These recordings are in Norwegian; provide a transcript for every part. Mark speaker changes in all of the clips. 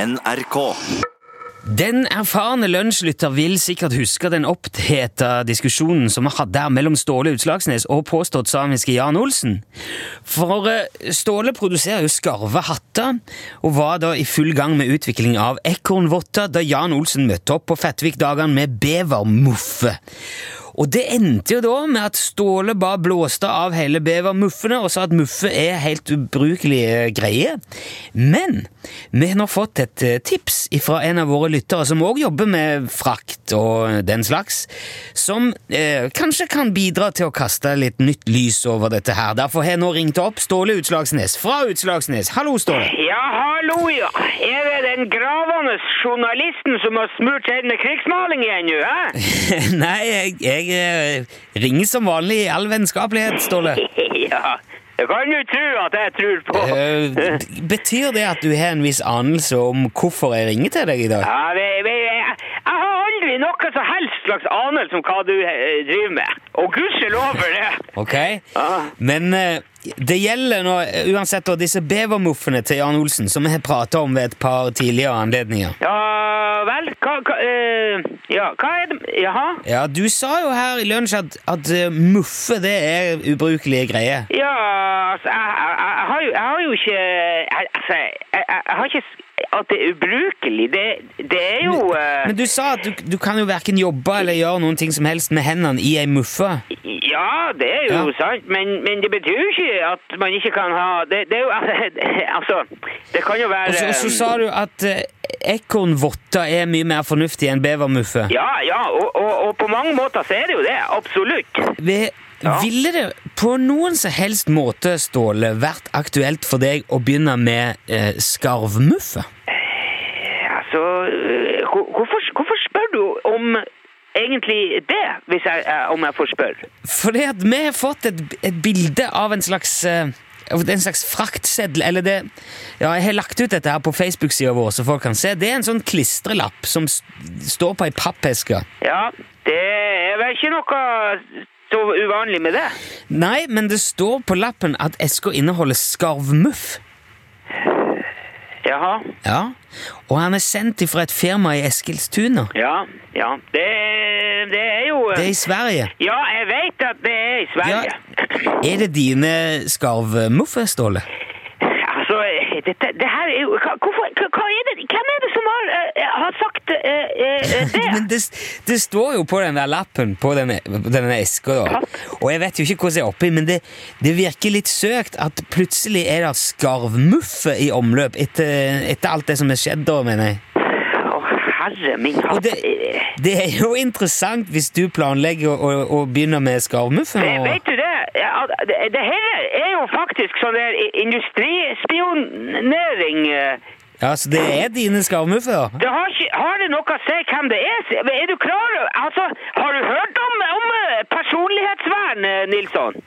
Speaker 1: NRK.
Speaker 2: Den erfarne lunsjlytter vil sikkert huske den oppheta diskusjonen som vi hadde her mellom Ståle Utslagsnes og påstått samiske Jan Olsen. For eh, Ståle produserer jo skarve hatter, og var da i full gang med utvikling av ekornvotter da Jan Olsen møtte opp på Fettvik-dagene med bevermuffe. Og det endte jo da med at Ståle bare blåste av hele bevermuffene og sa at muffe er helt ubrukelige greier. Men vi har nå fått et eh, tips fra en av våre lyttere som òg jobber med frakt og den slags, som eh, kanskje kan bidra til å kaste litt nytt lys over dette her. Derfor har jeg nå ringt opp Ståle Utslagsnes fra Utslagsnes. Hallo, Ståle.
Speaker 3: Ja, hallo, ja. Er det den gravende journalisten som har smurt seg inn med krigsmaling igjen nå, hæ?
Speaker 2: Nei, jeg, jeg eh, ringer som vanlig i all vennskapelighet, Ståle.
Speaker 3: ja. Det kan du tro at jeg tror på.
Speaker 2: Eh, b- betyr det at du har en viss anelse om hvorfor jeg ringer til deg i dag?
Speaker 3: Ja, vi, vi, jeg, jeg har aldri noe som helst slags anelse om hva du eh, driver med. Og gudskjelov for det.
Speaker 2: Ok?
Speaker 3: Ja.
Speaker 2: Men eh, det gjelder nå eh, uansett da, disse bevermuffene til Jan Olsen, som vi har prata om ved et par tidligere anledninger.
Speaker 3: Ja vel, hva, hva, eh, ja, hva er det Jaha?
Speaker 2: Ja, Du sa jo her i lunsj at, at eh, muffe det er ubrukelige greier.
Speaker 3: Ja, altså, jeg, jeg, jeg, jeg har jo, jeg har jo ikke jeg, Altså, jeg, jeg, jeg har ikke s- At det er ubrukelig, det, det er jo eh,
Speaker 2: Men du sa at du, du kan jo verken jobbe eller gjøre noen ting som helst med hendene i ei muffe.
Speaker 3: Ja, det er jo
Speaker 2: Ja.
Speaker 3: sant, men, men det betyr jo ikke at man ikke kan ha det, det er jo, Altså, det kan jo være um,
Speaker 2: Og så, og så sa du at eh, ekornvotter er mye mer fornuftig enn bevermuffe.
Speaker 3: Ja, ja, og, og, og på mange måter så er det jo det. Absolutt.
Speaker 2: Vi,
Speaker 3: Ja.
Speaker 2: Ville det på noen som helst måte, Ståle, vært aktuelt for deg å begynne med eh, skarvmuffe?
Speaker 3: Altså, øh, hvor- hvorfor, hvorfor spør du om egentlig det, hvis jeg, eh, om jeg får spørre?
Speaker 2: Fordi at vi har fått et, et bilde av en slags eh, av en slags fraktseddel, eller det Ja, jeg har lagt ut dette her på Facebook-sida vår, så folk kan se. Det er en sånn klistrelapp som s- står på ei pappeske.
Speaker 3: Ja, det er vel ikke noe så uvanlig med det?
Speaker 2: Nei, men det står på lappen at eska inneholder skarvmuff.
Speaker 3: Jaha.
Speaker 2: Ja. Og han er sendt ifra et firma i Eskilstuna.
Speaker 3: Ja, ja. Det, det er jo øh,
Speaker 2: Det er i Sverige.
Speaker 3: Ja, jeg vet at det er i Sverige.
Speaker 2: Er det dine skarvmuffer, Ståle?
Speaker 3: Altså, dette, det her er jo hva, hvorfor, hva, hva er det, Hvem er det som har, eh, har sagt eh, eh,
Speaker 2: Men
Speaker 3: det?
Speaker 2: det, det står jo på den der lappen på denne, på denne eska, da. Og jeg vet jo ikke hvordan jeg er oppi, men det, det virker litt søkt at plutselig er det skarvmuffe i omløp etter, etter alt det som er skjedd, da, mener jeg.
Speaker 3: Å, herre min
Speaker 2: Og
Speaker 3: hatt.
Speaker 2: det,
Speaker 3: Eh,
Speaker 2: det er jo interessant hvis du planlegger å, å, å begynne med skarvmuffe
Speaker 3: det-
Speaker 2: nå.
Speaker 3: Vet du det? Ja, det, det her er jo faktisk sånn der i- industrispionering eh.
Speaker 2: Ja, så det er dine skarvmuffer? da?
Speaker 3: Det har, ikke, har det noe å si hvem det er? Er du klar over Altså, har du hørt om, om eh, personlighetsvern, eh, Nilsson?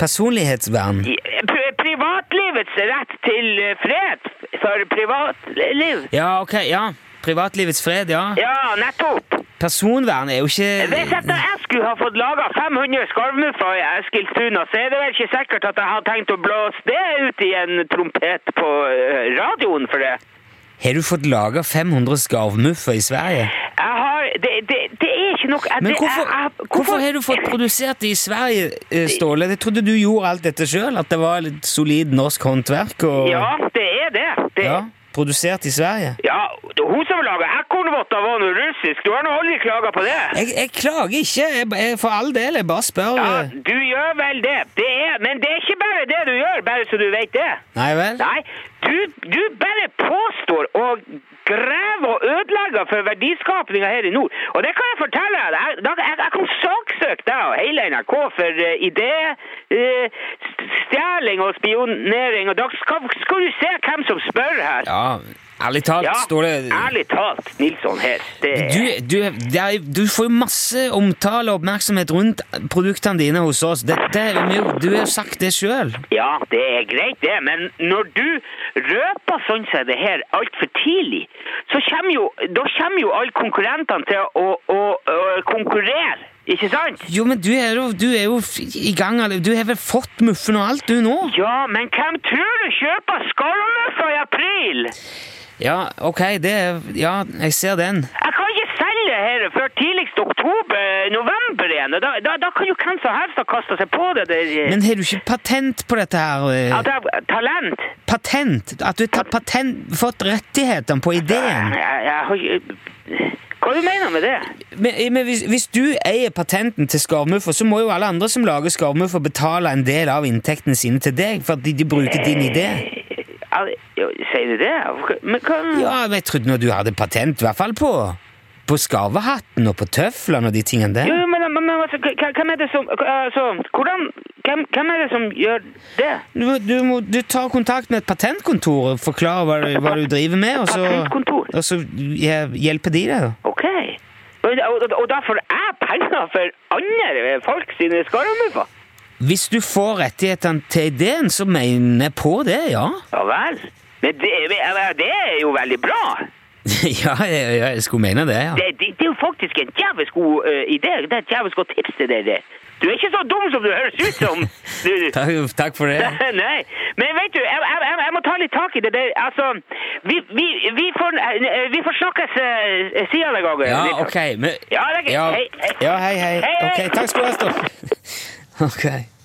Speaker 2: Personlighetsvern?
Speaker 3: I- pri- Privatlivets rett til eh, fred for privatliv?
Speaker 2: Ja, ok, ja. Privatlivets fred, ja.
Speaker 3: Ja, nettopp.
Speaker 2: Personvern er jo
Speaker 3: Hvis
Speaker 2: ikke
Speaker 3: at jeg skulle ha fått laga 500 skarvmuffer i Eskilstuna, så er det vel ikke sikkert at jeg har tenkt å blåse det ut i en trompet på eh, radioen for det.
Speaker 2: Har du fått laga 500 skarvmuffer i Sverige?
Speaker 3: Jeg har Det, det, det er ikke noe jeg-
Speaker 2: Men
Speaker 3: det-
Speaker 2: hvorfor,
Speaker 3: jeg- jeg-
Speaker 2: hvorfor har du fått produsert det i Sverige, eh, Ståle? Jeg trodde du gjorde alt dette sjøl, at det var litt solid norsk håndverk og
Speaker 3: Ja, det er det. det
Speaker 2: Ja, Produsert i Sverige?
Speaker 3: ja, hun som laga ekornvotter, var nå russisk. Du har nå aldri klaga på det.
Speaker 2: Jeg, jeg klager ikke, jeg, ba- jeg, for all del, jeg bare spør.
Speaker 3: Ja,
Speaker 2: eh.
Speaker 3: du gjør vel det. det er, men det er ikke bare det du gjør, bare så du vet det.
Speaker 2: Nei vel?
Speaker 3: Nei, du, du bare påstår og graver og ødelegger for verdiskapninga her i nord. Og det kan jeg fortelle deg. Jeg, da- jeg, jeg kan saksøke deg og hele NRK for uh, idéstjeling og spionering. Og da skal, skal du se hvem som spør her.
Speaker 2: Ja, ærlig talt, Ståle
Speaker 3: ærlig talt, Nilsson her. Det,
Speaker 2: du, du, det er, du får jo masse omtale og oppmerksomhet rundt produktene dine hos oss. Dette, er jo- du har jo sagt det sjøl.
Speaker 3: Ja, det er greit det, men når du røper sånn som det her altfor tidlig, så kommer jo, da kommer jo alle konkurrentene til å, å, å konkurrere, ikke sant?
Speaker 2: Jo, men du er jo, du er jo f- i gang alle- Du har vel fått muffen og alt, du nå?
Speaker 3: Ja, men hvem tror du kjøper skarmøffer i april?
Speaker 2: Ja, ok, det Ja, jeg ser den.
Speaker 3: Jeg kan ikke selge her før tidligst oktober-november igjen. og Da, da, da kan jo hvem som helst ha kasta seg på det. der. eh,
Speaker 2: Men har du ikke patent på dette her? eh,
Speaker 3: At jeg har talent
Speaker 2: Patent? At du har patent, fått rettighetene på ideen?
Speaker 3: jeg, jeg har ikke Hva du mener med det?
Speaker 2: Men, men hvis, hvis du eier patenten til skarvmuffer, så må jo alle andre som lager skarvmuffer, betale en del av inntektene sine til deg fordi de bruker din idé.
Speaker 3: Al- jo, Sier du det? Men hva
Speaker 2: Ja, men jeg trodde nå du hadde patent, i hvert fall på, på skarvehatten og på tøflene og de tingene
Speaker 3: Jo,
Speaker 2: der.
Speaker 3: jo, men, men, men altså, hva- hva- hvem er det som altså, hvordan, hvem, hvem er det som gjør det?
Speaker 2: Du, du, må, du tar kontakt med et patentkontor og forklarer hva, du- hva du driver med, og så,
Speaker 3: Patentkontor?
Speaker 2: og så ja, hjelper de deg. da.
Speaker 3: OK. Og, og, og da får jeg penger for andre folk sine skarvmuffer?
Speaker 2: Hvis du får rettighetene til ideen, så mener jeg på det, ja.
Speaker 3: Ja vel. Men det, men det er jo veldig bra.
Speaker 2: ja, jeg, jeg, jeg skulle mene det, ja.
Speaker 3: Det, det, det er jo faktisk en djevelsk god eh, idé. Det er et djevelsk godt tips til deg. det. Du er ikke så dum som du høres ut som. Du,
Speaker 2: Takk, takk for det.
Speaker 3: Nei, men vet du, jeg, jeg, jeg, jeg må ta litt tak i det der. Altså, vi, vi, vi, får, eh, vi får snakkes eh, siden en gang.
Speaker 2: Ja,
Speaker 3: Lisa.
Speaker 2: ok. Men,
Speaker 3: Ja, det er greit.
Speaker 2: Ja,
Speaker 3: Hei, hei.
Speaker 2: ja, hei, hei.
Speaker 3: Hei, hei.
Speaker 2: Ok, takk skal du ha, Stoff. Ok.